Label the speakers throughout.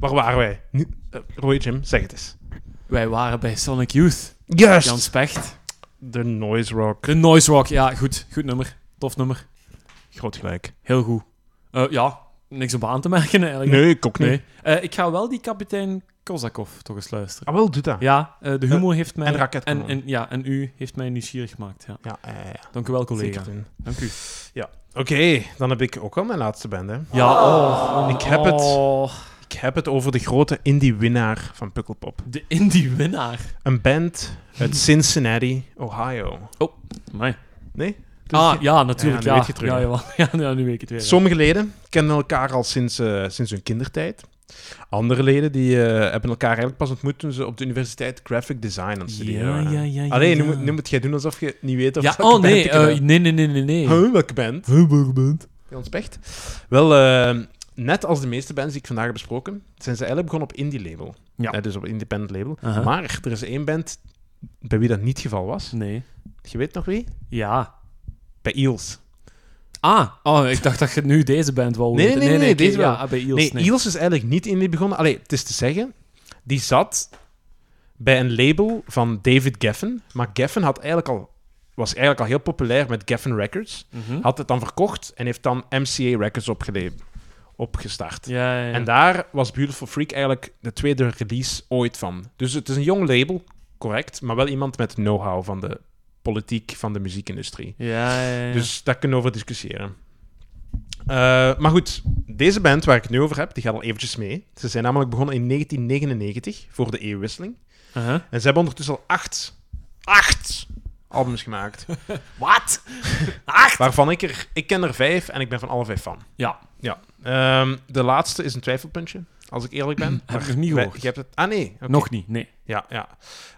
Speaker 1: Waar waren wij? Niet, eh, Roy Jim, zeg het eens.
Speaker 2: Wij waren bij Sonic Youth.
Speaker 1: Juist!
Speaker 2: Jan Specht.
Speaker 1: De Noise Rock.
Speaker 2: De Noise Rock. Ja, goed. Goed nummer. Tof nummer.
Speaker 1: Groot gelijk.
Speaker 2: Heel goed. Eh, ja, niks op aan te merken eigenlijk.
Speaker 1: Nee, ik ook niet.
Speaker 2: Eh, ik ga wel die kapitein Kozakov toch eens luisteren.
Speaker 1: Ah, wel, doe dat.
Speaker 2: Ja, eh, de humor heeft mij...
Speaker 1: en raketkanon.
Speaker 2: en, en, ja, en u heeft mij nieuwsgierig gemaakt. Ja.
Speaker 1: Ja, eh, ja.
Speaker 2: Dank u wel, collega.
Speaker 1: Zeker doen.
Speaker 2: Dank u.
Speaker 1: Oké, dan heb ik ook al mijn laatste band. Hè.
Speaker 2: Ja, oh.
Speaker 1: Ik heb het.
Speaker 2: Oh.
Speaker 1: Ik heb het over de grote indie-winnaar van Pukkelpop.
Speaker 2: De indie-winnaar.
Speaker 1: Een band uit Cincinnati, Ohio.
Speaker 2: Amai.
Speaker 1: Nee? Dus
Speaker 2: Ah, ja, natuurlijk.
Speaker 1: Ja, nu
Speaker 2: Ja,
Speaker 1: weet je het terug,
Speaker 2: Ja,
Speaker 1: hè.
Speaker 2: jawel. ja, ja, nu weet ik het weer.
Speaker 1: Sommige leden kennen elkaar al sinds, eh, sinds hun kindertijd. Andere leden die, eh, hebben elkaar eigenlijk pas ontmoet toen ze op de universiteit graphic design aan het studeren
Speaker 2: ja,
Speaker 1: waren.
Speaker 2: ja, ja, ja.
Speaker 1: Allee, nu,
Speaker 2: ja.
Speaker 1: moet- nu moet jij doen alsof je niet weet of
Speaker 2: Ja,
Speaker 1: welke
Speaker 2: oh
Speaker 1: band
Speaker 2: nee,
Speaker 1: ik
Speaker 2: eh,
Speaker 1: heb.
Speaker 2: nee, nee, nee, nee, nee.
Speaker 1: Huh, welke band? Jan Specht. Wel, eh, net als de meeste bands die ik vandaag heb besproken, zijn ze eigenlijk begonnen op indie-label.
Speaker 2: Ja.
Speaker 1: Eh, dus op independent label.
Speaker 2: Aha.
Speaker 1: Maar er is één band bij wie dat niet het geval was.
Speaker 2: Nee.
Speaker 1: Je weet nog wie?
Speaker 2: Ja.
Speaker 1: Bij Eels.
Speaker 2: Ah, oh, ik dacht dat je nu deze band wou
Speaker 1: Nee,
Speaker 2: weten.
Speaker 1: nee, nee, nee,
Speaker 2: oké,
Speaker 1: deze
Speaker 2: ja,
Speaker 1: wel.
Speaker 2: ah, bij Eels,
Speaker 1: nee,
Speaker 2: nee.
Speaker 1: Eels is eigenlijk niet indie begonnen. Allee, het is te zeggen, die zat bij een label van David Geffen. Maar Geffen had eigenlijk al, was eigenlijk al heel populair met Geffen Records.
Speaker 2: Mhm.
Speaker 1: Had het dan verkocht en heeft dan MCA Records opgele- opgestart.
Speaker 2: Ja, ja, ja.
Speaker 1: En daar was Beautiful Freak eigenlijk de tweede release ooit van. Dus het is een jong label, correct, maar wel iemand met know-how van de politiek van de muziekindustrie.
Speaker 2: Ja, ja, ja.
Speaker 1: Dus daar kunnen we over discussiëren. Eh, maar goed, deze band waar ik het nu over heb, die gaat al eventjes mee. Ze zijn namelijk begonnen in 1999 voor de eeuwwisseling.
Speaker 2: Uh-huh.
Speaker 1: En ze hebben ondertussen al acht, acht albums gemaakt.
Speaker 2: Wat? Acht?
Speaker 1: waarvan ik er, ik ken er vijf en ik ben van alle vijf fan.
Speaker 2: Ja.
Speaker 1: ja. Ehm, de laatste is een twijfelpuntje, als ik eerlijk ben.
Speaker 2: Heb ik nog niet gehoord.
Speaker 1: Je hebt het, ah nee, oké.
Speaker 2: Nog niet, nee.
Speaker 1: Ja, ja.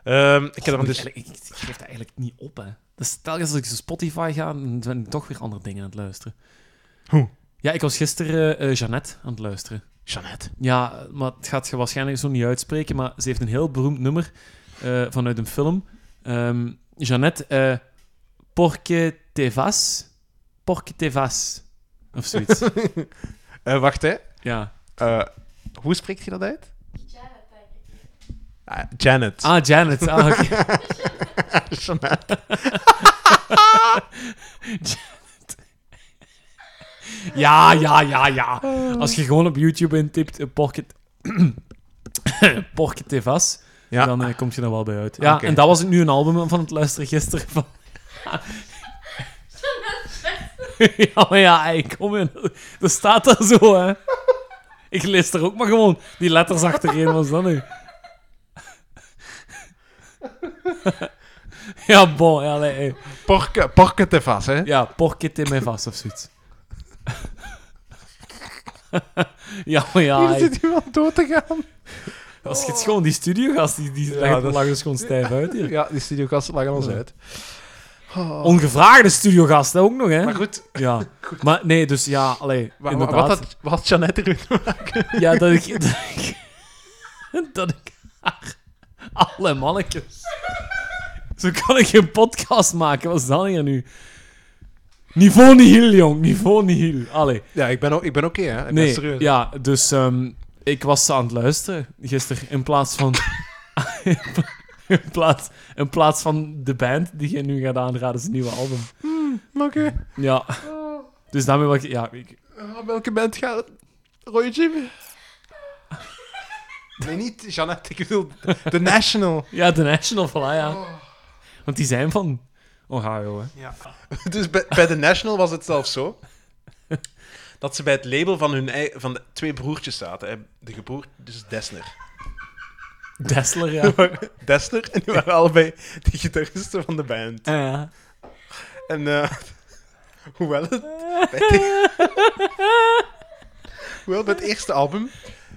Speaker 1: Ehm, ik heb er
Speaker 2: Moet
Speaker 1: dus.
Speaker 2: eigenlijk- Ik, ik geef daar eigenlijk niet op, hè. Dus telkens als ik naar Spotify ga, dan ben ik toch weer andere dingen aan het luisteren.
Speaker 1: Hoe?
Speaker 2: Ja, ik was gisteren eh eh, Jeannette aan het luisteren.
Speaker 1: Jeannette.
Speaker 2: Ja, maar het gaat je waarschijnlijk zo niet uitspreken, maar ze heeft een heel beroemd nummer eh, vanuit een film. Ehm Jeannette, eh Porque te vas? Porque te vas? Of zoiets.
Speaker 1: Eh, wacht hè.
Speaker 2: ja.
Speaker 1: Eh, hoe spreekt je dat uit? Ah, Janet.
Speaker 2: Ah, Janet. Ah, oké.
Speaker 1: Jeannette.
Speaker 2: Ja, ja, ja, ja. Als je gewoon op YouTube intipt, eh, Porque... Porque te vas,
Speaker 1: Ja.
Speaker 2: dan eh, kom je er wel bij uit. Ja,
Speaker 1: Oké.
Speaker 2: en dat was nu een album van het luisteren gisteren van... ja, maar ja, ey, kom in. Dat staat daar zo, hè. Ik lees er ook maar gewoon die letters achterin. Wat is dat nu? ja, bon. Ja, nee, ey.
Speaker 1: Porke, porke te vas, hè?
Speaker 2: ja porke te mij vast of zoiets. ja, maar ja,
Speaker 1: Hier
Speaker 2: ey.
Speaker 1: zit iemand dood te gaan.
Speaker 2: als je het gewoon die studiogast, die, die
Speaker 1: Ja,
Speaker 2: legt
Speaker 1: dat is-
Speaker 2: lag dus gewoon stijf uit hier.
Speaker 1: Ja, die studiogast lag ons
Speaker 2: Ja.
Speaker 1: uit.
Speaker 2: Ongevraagde studiogast, hè, ook nog, hè?
Speaker 1: Maar goed,
Speaker 2: Ja. Maar nee, dus ja, allee,
Speaker 1: wa- wa-
Speaker 2: inderdaad.
Speaker 1: wat had, wat had Jeannette erin te maken?
Speaker 2: Ja, dat ik... Dat ik, dat ik haar... Alle mannetjes. Zo kan ik geen podcast maken. Wat is dat hier nu? Niveau nihil, jong. Niveau nihil. Allee.
Speaker 1: Ja, ik ben, ook- ik ben oké, hè? Ik ben
Speaker 2: Nee,
Speaker 1: serieus.
Speaker 2: ja, dus ehm, ik was aan het luisteren gisteren in plaats van... in, plaats, in plaats van de band die je nu gaat aanraden, zijn nieuwe album.
Speaker 1: Maar Oké.
Speaker 2: Ja. Dus daarmee was ik... Ja, ik,
Speaker 1: Ah, welke band gaat het? Roy Jim? Nee, niet Jeannette, ik bedoel The National.
Speaker 2: ja The National, voilà, ja. Want die zijn van Ohio, hè.
Speaker 1: Ja. Dus bij, bij The National was het zelfs zo dat ze bij het label van, hun, ei- van de twee broertjes zaten. hè. De gebroer, dus Desner.
Speaker 2: Dessler, ja.
Speaker 1: Desner en die waren allebei de gitaristen van de band.
Speaker 2: Ja.
Speaker 1: En eh, hoewel het bij het, hoewel bij het eerste album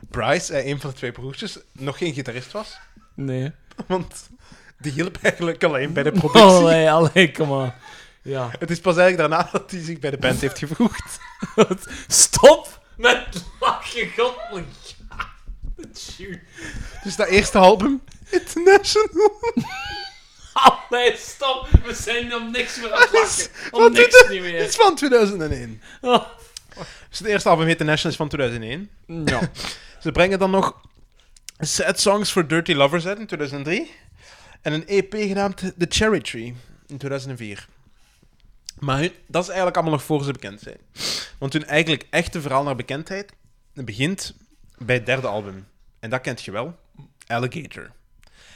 Speaker 1: Bryce, eh, een van de twee broertjes, nog geen gitarist was.
Speaker 2: Nee.
Speaker 1: Want die hielp eigenlijk alleen
Speaker 2: Oh,
Speaker 1: bij de productie.
Speaker 2: Allee, allee, kom aan. Ja.
Speaker 1: Het is pas eigenlijk daarna dat hij zich bij de band heeft gevoegd.
Speaker 2: Stop met lachen, goddelijk. Tjoe.
Speaker 1: Dus dat eerste album, International.
Speaker 2: Allee, stop. We zijn om niks meer aan het lachen.
Speaker 1: Wat
Speaker 2: Om
Speaker 1: doet
Speaker 2: niks
Speaker 1: het?
Speaker 2: niet
Speaker 1: Het is
Speaker 2: meer.
Speaker 1: van 2001.
Speaker 2: Oh.
Speaker 1: Dus het eerste album International is van 2001.
Speaker 2: Ja.
Speaker 1: Ze brengen dan nog Sad Songs for Dirty Lovers uit in 2003. En een EP genaamd The Cherry Tree in 2004. Maar hun- dat is eigenlijk allemaal nog voor ze bekend zijn. Want hun eigenlijk echte verhaal naar bekendheid begint bij het derde album. En dat kent je wel. Alligator.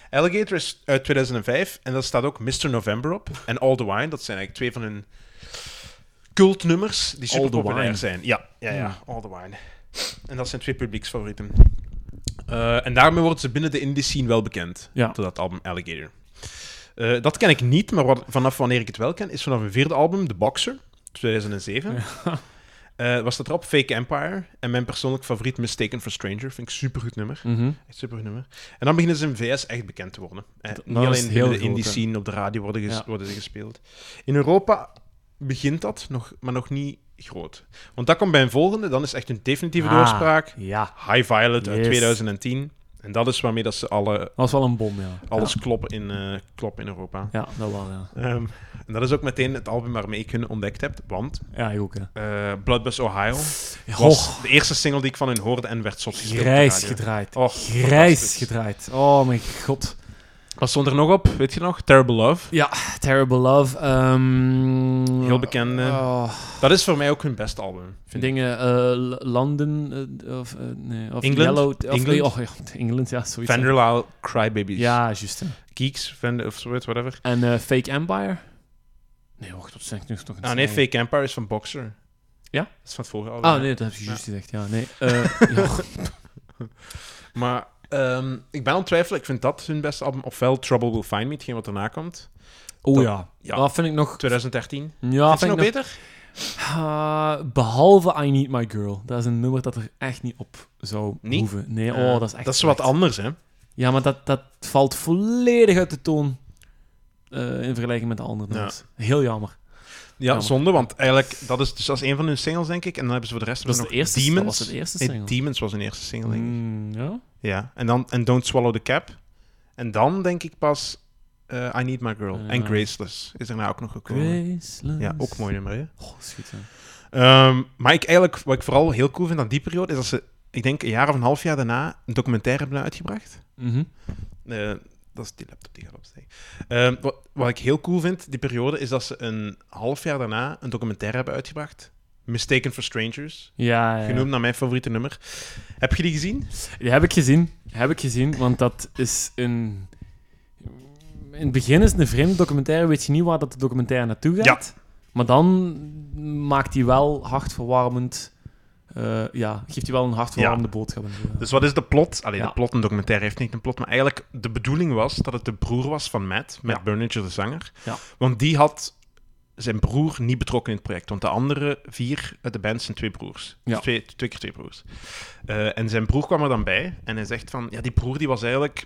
Speaker 1: Alligator is uit 2005 en daar staat ook Mr. November op. En All The Wine, dat zijn eigenlijk twee van hun cultnummers die
Speaker 2: All
Speaker 1: super
Speaker 2: the Wine. Hmm.
Speaker 1: populair zijn. Ja, ja, ja. All The Wine. En dat zijn twee publieksfavorieten. Eh, en daarmee worden ze binnen de indie scene wel bekend.
Speaker 2: Ja.
Speaker 1: Door dat album Alligator. Eh, dat ken ik niet, maar wat, vanaf wanneer ik het wel ken, is vanaf hun vierde album, The Boxer, 2007. Eh, was dat erop Fake Empire. En mijn persoonlijk favoriet, Mistaken for Stranger. Vind ik een supergoed nummer.
Speaker 2: Mhm.
Speaker 1: Echt supergoed nummer. En dan beginnen ze in VS echt bekend te worden. En
Speaker 2: Dat-
Speaker 1: niet
Speaker 2: dat is
Speaker 1: alleen
Speaker 2: heel
Speaker 1: in de
Speaker 2: groot,
Speaker 1: indie
Speaker 2: hè.
Speaker 1: scene op de radio worden, ges-
Speaker 2: Ja.
Speaker 1: worden ze gespeeld. In Europa begint dat, nog, maar nog niet groot. Want dat komt bij een volgende, dan is echt een definitieve
Speaker 2: Ah,
Speaker 1: doorspraak.
Speaker 2: Ja.
Speaker 1: High Violet uit
Speaker 2: Yes.
Speaker 1: 2010. En dat is waarmee dat ze alle,
Speaker 2: Dat was wel een bom, ja.
Speaker 1: alles
Speaker 2: Ja,
Speaker 1: kloppen in, eh, kloppen in Europa.
Speaker 2: ja dat wel, ja.
Speaker 1: Ehm, en dat is ook meteen het album waarmee ik hun ontdekt heb. Want
Speaker 2: Ja, ik ook, hè.
Speaker 1: eh Bloodbus Ohio was
Speaker 2: Och,
Speaker 1: de eerste single die ik van hun hoorde en werd zot gespeeld. op de
Speaker 2: grijs
Speaker 1: radio.
Speaker 2: gedraaid.
Speaker 1: Och,
Speaker 2: Grijs
Speaker 1: fantastisch.
Speaker 2: gedraaid. Oh mijn god.
Speaker 1: Wat stond er nog op? Weet je nog? Terrible Love.
Speaker 2: Ja, Terrible Love. ehm,
Speaker 1: Heel bekend, eh.
Speaker 2: oh,
Speaker 1: Dat is voor mij ook hun beste album. Vind ik.
Speaker 2: dingen, eh, L- London, eh, of, eh, nee, of
Speaker 1: England?
Speaker 2: Yellow. Of,
Speaker 1: England?
Speaker 2: oh, ja, England, ja, zoiets.
Speaker 1: Vanderlauw, Crybabies.
Speaker 2: Ja, juist. hè.
Speaker 1: Geeks, Vander, of zoiets, whatever.
Speaker 2: En eh, Fake Empire? Nee, wacht, dat zeg ik nu toch niet.
Speaker 1: Ah nee, Fake Empire is van Boxer.
Speaker 2: Ja?
Speaker 1: Dat is van het vorige album.
Speaker 2: Ah nee, dat heb je juist gezegd, ja. Nee, eh, ja.
Speaker 1: Maar ehm, ik ben aan het twijfelen. Ik vind dat hun beste album. Ofwel Trouble Will Find Me, hetgeen wat daarna komt.
Speaker 2: Oh
Speaker 1: Dat-
Speaker 2: ja.
Speaker 1: ja.
Speaker 2: dat vind ik nog...
Speaker 1: 2013.
Speaker 2: Ja,
Speaker 1: Vind je
Speaker 2: vind
Speaker 1: nog
Speaker 2: ik nog...
Speaker 1: beter?
Speaker 2: Ah, behalve I Need My Girl. Dat is een nummer dat er echt niet op zou
Speaker 1: Niet?
Speaker 2: hoeven. Nee, oh,
Speaker 1: Eh,
Speaker 2: dat is echt...
Speaker 1: Dat is wat
Speaker 2: slecht.
Speaker 1: anders, hè?
Speaker 2: Ja, maar dat, dat valt volledig uit de toon eh, in vergelijking met de andere
Speaker 1: Ja.
Speaker 2: nummers. Heel jammer.
Speaker 1: Ja,
Speaker 2: Ja.
Speaker 1: zonde, want eigenlijk, dat is dus als een van hun singles, denk ik. En dan hebben ze voor de rest
Speaker 2: Dat, is de
Speaker 1: nog
Speaker 2: eerste,
Speaker 1: Demons.
Speaker 2: dat was de eerste
Speaker 1: Nee,
Speaker 2: single.
Speaker 1: Demons was hun eerste single, denk ik.
Speaker 2: Mm, ja?
Speaker 1: Ja, en dan en Don't Swallow the Cap. En dan denk ik pas eh, I Need My Girl. En
Speaker 2: Ja.
Speaker 1: Graceless is er nou ook nog gekomen.
Speaker 2: Graceless.
Speaker 1: Ja, ook mooi nummer, hè?
Speaker 2: Oh, schiet, hè.
Speaker 1: Ehm, maar ik eigenlijk, wat ik vooral heel cool vind aan die periode, is dat ze, ik denk een jaar of een half jaar daarna, een documentaire hebben uitgebracht.
Speaker 2: Mhm.
Speaker 1: Eh, dat is die laptop die gaat opstijgen. Ehm, wat, wat ik heel cool vind, die periode, is dat ze een half jaar daarna een documentaire hebben uitgebracht. Mistaken for Strangers,
Speaker 2: Ja, ja, ja.
Speaker 1: genoemd naar mijn favoriete nummer. Heb je die gezien?
Speaker 2: Die heb ik gezien. Heb ik gezien, want dat is een... In het begin is het een vreemde documentaire. Weet je niet waar dat de documentaire naartoe gaat. Maar dan maakt hij wel hartverwarmend... eh, ja, geeft hij wel een hartverwarmende boodschap. en zo, ja.
Speaker 1: Dus wat is de plot? Allee,
Speaker 2: Ja.
Speaker 1: de plot, een documentaire heeft niet een plot, maar eigenlijk de bedoeling was dat het de broer was van Matt, Matt
Speaker 2: Ja.
Speaker 1: Berninger, de zanger.
Speaker 2: Ja.
Speaker 1: Want die had zijn broer niet betrokken in het project, want de andere vier uit de band zijn twee broers. Dus
Speaker 2: Ja.
Speaker 1: Twee, twee keer twee broers. Eh, en zijn broer kwam er dan bij en hij zegt van, ja, die broer die was eigenlijk...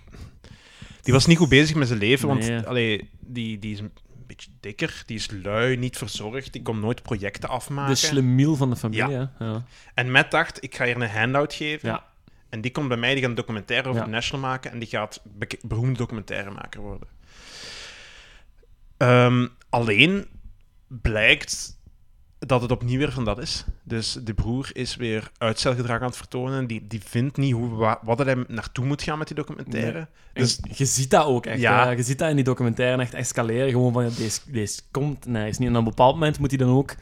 Speaker 1: Die was niet goed bezig met zijn leven,
Speaker 2: Nee.
Speaker 1: want allee, die, die is een beetje dikker, die is lui, niet verzorgd, die kon nooit projecten afmaken.
Speaker 2: De slemiel van de familie, hè. ja.
Speaker 1: En Matt dacht, ik ga hier een handout geven.
Speaker 2: Ja.
Speaker 1: En die komt bij mij, die gaat een documentaire over
Speaker 2: Ja.
Speaker 1: de National maken. En die gaat beke- beroemde documentairemaker worden. Ehm, alleen blijkt dat het opnieuw weer van dat is. Dus de broer is weer uitstelgedrag aan het vertonen. Die, die vindt niet hoe, wa- wat hij naartoe moet gaan met die documentaire.
Speaker 2: En
Speaker 1: Dus
Speaker 2: je ziet dat ook echt.
Speaker 1: Ja.
Speaker 2: Ja. Je ziet dat in die documentaire echt escaleren. Gewoon van, ja, deze, deze komt en hij is niet. En op een bepaald moment moet hij dan ook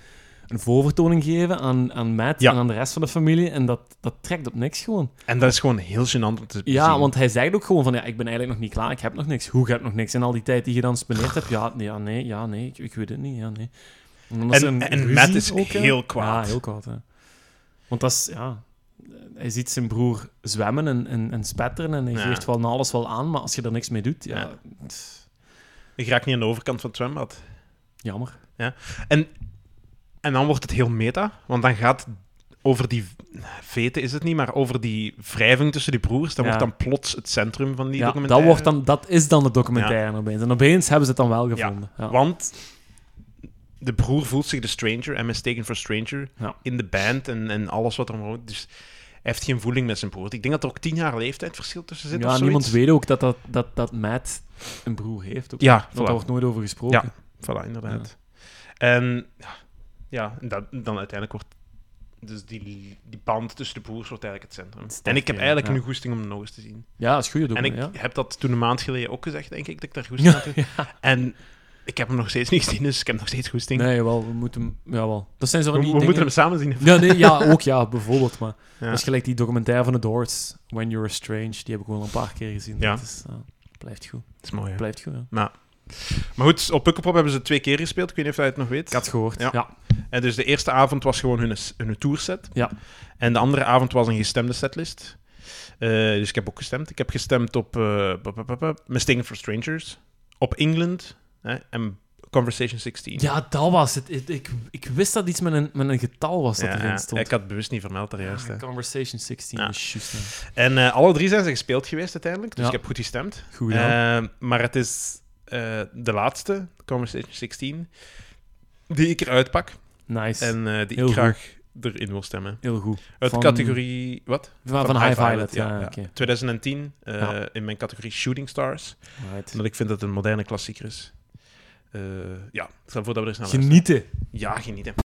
Speaker 2: een voorvertoning geven aan, aan Matt
Speaker 1: Ja.
Speaker 2: en aan de rest van de familie. En dat, dat trekt op niks gewoon.
Speaker 1: en dat is gewoon heel gênant om te
Speaker 2: Ja,
Speaker 1: zien.
Speaker 2: want hij zegt ook gewoon van, ja, ik ben eigenlijk nog niet klaar. Ik heb nog niks. Hoe, je hebt nog niks? En al die tijd die je dan spendeerd hebt, ja, nee, ja, nee, ja, nee ik, ik weet het niet, ja, nee. dan is
Speaker 1: En-
Speaker 2: er een
Speaker 1: en
Speaker 2: ruzie
Speaker 1: Matt is
Speaker 2: hè.
Speaker 1: heel kwaad.
Speaker 2: Ja, heel kwaad, hè. Want dat is, ja... Hij ziet zijn broer zwemmen en, en, en spetteren en hij
Speaker 1: Ja.
Speaker 2: geeft wel na alles wel aan, maar als je er niks mee doet, ja,
Speaker 1: Ja.
Speaker 2: tss,
Speaker 1: Ik raak niet aan de overkant van het zwembad.
Speaker 2: jammer.
Speaker 1: En dan wordt het heel meta, want dan gaat over die vete is het niet, maar over die wrijving tussen die broers, dat
Speaker 2: Ja.
Speaker 1: wordt dan plots het centrum van die
Speaker 2: Ja, dat,
Speaker 1: documentaire.
Speaker 2: wordt dan, dat is dan de documentaire opeens. En opeens hebben ze het dan wel gevonden. Ja.
Speaker 1: Want de broer voelt zich de stranger en mistaken for stranger
Speaker 2: Ja.
Speaker 1: in de band en, en alles wat er rond. Dus hij heeft geen voeling met zijn broer. Ik denk dat er ook tien jaar leeftijdsverschil tussen zit.
Speaker 2: Ja,
Speaker 1: of
Speaker 2: niemand
Speaker 1: zoiets.
Speaker 2: weet ook dat, dat, dat, dat Matt een broer heeft. Ook.
Speaker 1: Ja,
Speaker 2: Want Daar
Speaker 1: voilà.
Speaker 2: wordt nooit over gesproken.
Speaker 1: Voilà, inderdaad. En ja, ja, dat, dan uiteindelijk wordt Dus die, die band tussen de broers wordt eigenlijk het centrum.
Speaker 2: is
Speaker 1: en ik heb
Speaker 2: ja,
Speaker 1: eigenlijk
Speaker 2: ja.
Speaker 1: nu goesting om hem nog eens te zien.
Speaker 2: Ja, dat is goed.
Speaker 1: En ik
Speaker 2: ja.
Speaker 1: heb dat toen een maand geleden ook gezegd, denk ik, dat ik daar goesting
Speaker 2: Ja,
Speaker 1: had.
Speaker 2: ja.
Speaker 1: En ik heb hem nog steeds niet gezien, dus ik heb nog steeds goesting.
Speaker 2: Nee, wel, we moeten hem... Jawel. Dat zijn zo
Speaker 1: we
Speaker 2: van
Speaker 1: we
Speaker 2: die
Speaker 1: moeten hem
Speaker 2: dingen-
Speaker 1: samen zien.
Speaker 2: Ja, nee, ja, ook ja, bijvoorbeeld. Maar
Speaker 1: Ja.
Speaker 2: dat is gelijk die documentaire van de Doors, When You're Strange, die heb ik gewoon al een paar keer gezien.
Speaker 1: Ja.
Speaker 2: Dat is, ja, blijft goed.
Speaker 1: Dat is mooi, hè.
Speaker 2: Blijft goed, ja.
Speaker 1: Maar goed, op Pukkelpop hebben ze twee keer gespeeld. Ik weet niet of jij het nog weet.
Speaker 2: Ik had het gehoord.
Speaker 1: Ja.
Speaker 2: Ja.
Speaker 1: En dus de eerste avond was gewoon hun, hun tourset.
Speaker 2: Ja.
Speaker 1: En de andere avond was een gestemde setlist. Eh, dus ik heb ook gestemd. Ik heb gestemd op eh, pa- pa- pa- pa- Mistaken for Strangers, op England hè, en Conversation 16.
Speaker 2: Ja, dat was het. Ik, ik, ik wist dat iets met een, met een getal was dat
Speaker 1: Ja,
Speaker 2: erin
Speaker 1: ja.
Speaker 2: stond.
Speaker 1: Ik had het bewust niet vermeld daar juist.
Speaker 2: Ja,
Speaker 1: hè.
Speaker 2: Conversation 16,
Speaker 1: Ja.
Speaker 2: dat is juist. hè.
Speaker 1: En eh, alle drie zijn ze gespeeld geweest uiteindelijk, dus
Speaker 2: Ja.
Speaker 1: ik heb goed gestemd.
Speaker 2: Goed gedaan.
Speaker 1: Eh, maar het is eh, de laatste, Conversation 16, die ik eruit pak
Speaker 2: nice.
Speaker 1: en eh, die
Speaker 2: Heel
Speaker 1: ik
Speaker 2: goed.
Speaker 1: graag erin wil stemmen.
Speaker 2: Heel goed.
Speaker 1: Uit
Speaker 2: Van-
Speaker 1: categorie... Wat?
Speaker 2: Ah, Van, van, High Violet, ja. oké.
Speaker 1: 2010, eh,
Speaker 2: Ja.
Speaker 1: in mijn categorie Shooting Stars.
Speaker 2: Alright.
Speaker 1: Omdat ik vind dat het een moderne klassieker is. Eh, ja, ik stel voor dat we er eens naar luisteren.
Speaker 2: Genieten.
Speaker 1: Ja, genieten.